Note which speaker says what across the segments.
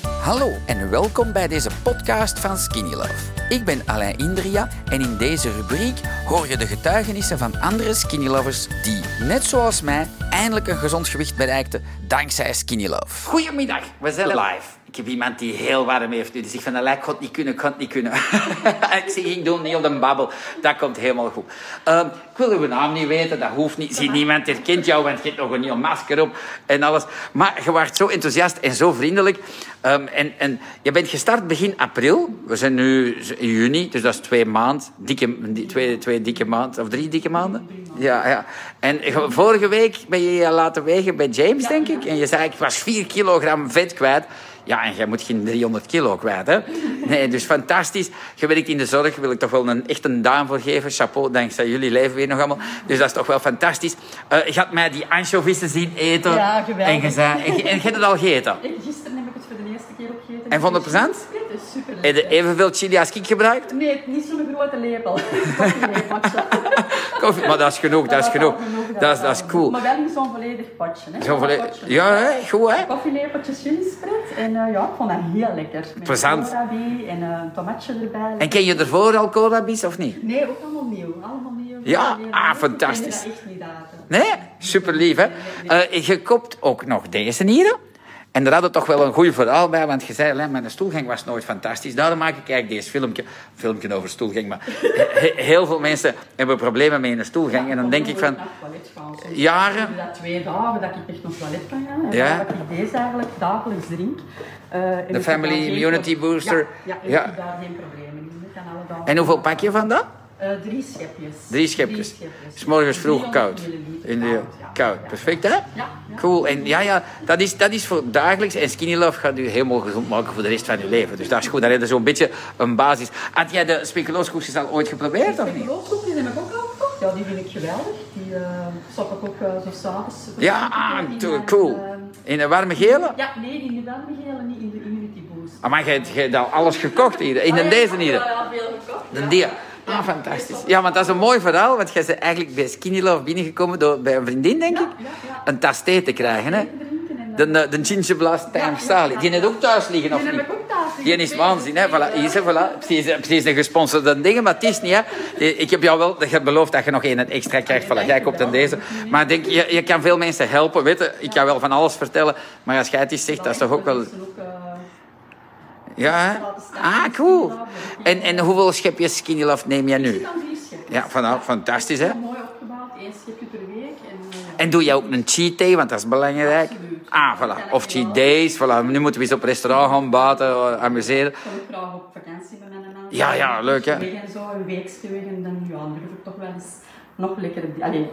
Speaker 1: Hallo en welkom bij deze podcast van Skinny Love. Ik ben Alain Indria en in deze rubriek hoor je de getuigenissen van andere Skinny Lovers die, net zoals mij, eindelijk een gezond gewicht bereikten dankzij Skinny Love. Goedemiddag, we zijn live. Ik heb iemand die heel warm heeft nu. Die zegt van, dat lijkt God niet kunnen, God niet kunnen. ik zeg, ik doe niet op de babbel. Dat komt helemaal goed. Ehm, ik wil uw naam niet weten, dat hoeft niet. Zie, niemand herkent jou, want je hebt nog een nieuw masker op en alles. Maar je waart zo enthousiast en zo vriendelijk. Ehm, en, en je bent gestart begin april. We zijn nu in juni, dus dat is twee maanden. Dikke, die- twee, twee dikke maanden, of drie dikke maanden. Ja, ja. En ge- vorige week ben je je laten wegen bij James, denk ik. En je zei, ik was vier kilogram vet kwijt. Ja, en jij moet geen 300 kilo kwijt, hè? Nee, dus fantastisch. Je werkt in de zorg, wil ik toch wel een, echt een duim voor geven. Chapeau, dankzij jullie leven weer nog allemaal. Dus dat is toch wel fantastisch. Eh je had mij die anchovissen zien eten.
Speaker 2: Ja, geweldig.
Speaker 1: En je, zei, en, je- en je hebt het al gegeten.
Speaker 2: En Gisteren heb ik het voor de eerste keer opgegeten.
Speaker 1: En vond het plezant?
Speaker 2: Het is super.
Speaker 1: Heb je evenveel chili als ik gebruikt?
Speaker 2: Nee, niet zo'n grote lepel. Koffielepel, matcha.
Speaker 1: Koffie, maar dat is genoeg, dat is
Speaker 2: al
Speaker 1: genoeg. Dat is, dat is cool.
Speaker 2: Maar wel in zo'n volledig potje. Hè?
Speaker 1: Zo volle-
Speaker 2: Zo'n potje.
Speaker 1: Ja, hè? goed, hè?
Speaker 2: Koffielepeltje chilispret. En eh, ja, ik vond dat heel lekker. Met
Speaker 1: Plezant.
Speaker 2: koolrabi en eh, een tomatje erbij.
Speaker 1: En ken je ervoor al corabis of niet?
Speaker 2: Nee, ook allemaal nieuw. Allemaal nieuw.
Speaker 1: Ja,
Speaker 2: Allemaal nieuw.
Speaker 1: ah,
Speaker 2: Ik ken
Speaker 1: fantastisch.
Speaker 2: dat echt niet uit.
Speaker 1: Nee? Super lief, hè? Eh, je koopt ook nog deze hier. En daar hadden we toch wel een goed verhaal bij, want je zei, "Lijn, mijn stoelgang was nooit fantastisch. Daarom maak ik eigenlijk deze filmpje, filmpje over stoelgang, maar he- heel veel mensen hebben problemen met een stoelgang. En dan denk ik van, eh, jaren-
Speaker 2: Ik dat twee dagen dat ik echt naar het toilet kan gaan. En
Speaker 1: Ja.
Speaker 2: Dat ik deze eigenlijk dagelijks drink. Eh, en
Speaker 1: De
Speaker 2: ik heb
Speaker 1: Family
Speaker 2: daar geen
Speaker 1: Immunity
Speaker 2: pro-
Speaker 1: Booster.
Speaker 2: Ja, ja, en
Speaker 1: Ja.
Speaker 2: ik heb daar geen problemen in. Ik kan alle dagen-
Speaker 1: en hoeveel pak je van dat?
Speaker 2: Eh, drie schepjes.
Speaker 1: Drie schepjes.
Speaker 2: Drie schepjes.
Speaker 1: S morgens vroeg
Speaker 2: 300
Speaker 1: koud.
Speaker 2: milliliter
Speaker 1: In de,
Speaker 2: ja.
Speaker 1: koud,
Speaker 2: Ja.
Speaker 1: perfect hè?
Speaker 2: ja.
Speaker 1: Cool. En ja, ja dat, is, dat is voor dagelijks. En Skinny Love gaat u helemaal gezond maken voor de rest van uw leven. Dus dat is goed. Dan heb je zo'n beetje een basis. Had jij de speculooskoekjes al ooit geprobeerd of niet?
Speaker 2: Speculoossoepjes heb ik ook al gekocht. Ja, die vind ik geweldig. Die eh sop ik ook eh, zo s'avonds.
Speaker 1: Ja,
Speaker 2: In
Speaker 1: ah, to-
Speaker 2: mijn,
Speaker 1: cool.
Speaker 2: eh,
Speaker 1: In een warme gele?
Speaker 2: Ja, nee, in de warmegele, niet in de immunity boost. Ah,
Speaker 1: Maar jij hebt- jij hebt al alles gekocht hier. Ah, In een deze hier.
Speaker 2: Oh, Ja, veel gekocht.
Speaker 1: De dia. Ah, fantastisch. Ja, want dat is een mooi verhaal. Want jij bent eigenlijk bij Skinny Love binnengekomen door, bij een vriendin, denk ik.
Speaker 2: ja, ja.
Speaker 1: Een tas thee te krijgen, hè? De, eh, de ginger blast time
Speaker 2: Ja, ja,
Speaker 1: Sally.
Speaker 2: ja.
Speaker 1: Die net ook thuis liggen, of
Speaker 2: Die
Speaker 1: niet?
Speaker 2: heb ik ook thuis liggen.
Speaker 1: Die is waanzin, hè? Voilà, hier, is, hè, voilà. Precies, hè, precies de gesponsorde dingen, maar het is niet, hè? Eh, Ik heb jou wel je hebt beloofd dat je nog één
Speaker 2: Ah,
Speaker 1: extra krijgt. Voilà, jij koopt dan deze. Maar ik denk, je, je kan veel mensen helpen, weet je. Ik kan wel van alles vertellen, maar als jij het eens zegt, dat is toch ook wel...
Speaker 2: Dat is ook, eh,
Speaker 1: Ja, hè? Ah, cool. En, en hoeveel schepjes Skinny Love neem jij
Speaker 2: ik
Speaker 1: nu?
Speaker 2: kan drie scheppen.
Speaker 1: Ja, van, nou, fantastisch, hè?
Speaker 2: Mooi opgebouwd, één schepje per week. En, eh,
Speaker 1: En doe jij ook een cheat day, want dat is belangrijk.
Speaker 2: Absoluut.
Speaker 1: Ah, voilà. Of cheat days, voilà. Nu moeten we eens op restaurant gaan baten, eh, amuseren.
Speaker 2: ik kan ook graag op vakantie met mijn man.
Speaker 1: Ja, ja, leuk, hè?
Speaker 2: Weg en zo, een weekje weg en dan, ja, dan durf ik toch wel eens nog lekker... Allee,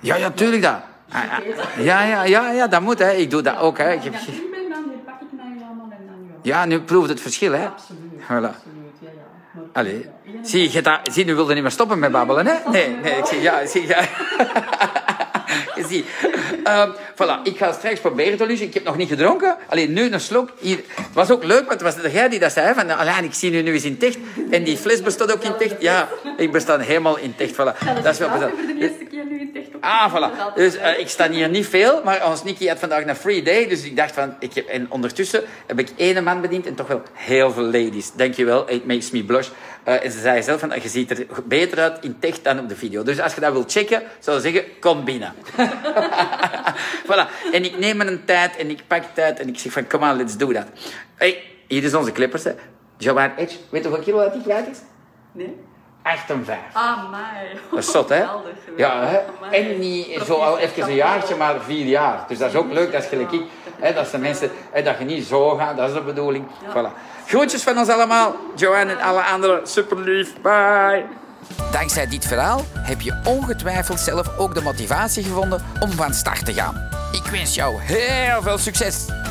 Speaker 1: Ja, ja, tuurlijk dat. Ah, ah, Ja, ja, ja, ja, dat moet, hè. Ik doe dat ook, hè. Ik
Speaker 2: Als ik
Speaker 1: heb...
Speaker 2: dan terug ben, dan hier pak ik mij allemaal en dan, ja.
Speaker 1: Ja, nu proeft het verschil, hè.
Speaker 2: Absoluut,
Speaker 1: Voilà.
Speaker 2: absoluut, ja, ja. Maar-
Speaker 1: Allee.
Speaker 2: Ja.
Speaker 1: Zie, je dat... Zie, nu wilde niet meer stoppen met babbelen, hè. Nee, nee, ik zie... Ja, zie, ja. Je ziet. Ehm, voilà, ik ga straks proberen te lussen. Ik heb nog niet gedronken. Alleen nu een slok. Hier. Het was ook leuk, want het was jij die dat zei. Van, Alain, ik zie nu nu eens in ticht. En die fles bestond ook in ticht. Ja, ik besta helemaal in ticht. Voilà.
Speaker 2: Ja,
Speaker 1: Dat is wel
Speaker 2: ik
Speaker 1: plezant.
Speaker 2: heb voor de eerste keer nu in het echt op.
Speaker 1: Ah, voilà.
Speaker 2: Dat is
Speaker 1: Dus
Speaker 2: altijd
Speaker 1: eh, ik sta hier niet veel, maar ons Nicky had vandaag een free day. Dus ik dacht van, ik heb, en ondertussen heb ik één man bediend en toch wel heel veel ladies. Dankjewel, it makes me blush. Eh, en ze zei zelf van, je ziet er beter uit in tech dan op de video. Dus als je dat wilt checken, zou ik zeggen, kom binnen. voilà. En ik neem een tijd en ik pak tijd en ik zeg van, come on, let's do that. Hey, hier is onze clippers, hè. Jawar Edge, weet je hoeveel kilo dat die kwijt is?
Speaker 2: Nee?
Speaker 1: 58.
Speaker 2: Ah, mij.
Speaker 1: Dat is zot, hè? Ja, hè? En niet zo al even een jaartje, maar vier jaar. Dus dat is ook leuk, dat is gelijk ik. Hè, dat is de mensen, hè, dat je niet zo gaat, dat is de bedoeling. Voilà. Groetjes van ons allemaal, Joanne en alle anderen. Super lief, bye. Dankzij dit verhaal heb je ongetwijfeld zelf ook de motivatie gevonden om van start te gaan. Ik wens jou heel veel succes.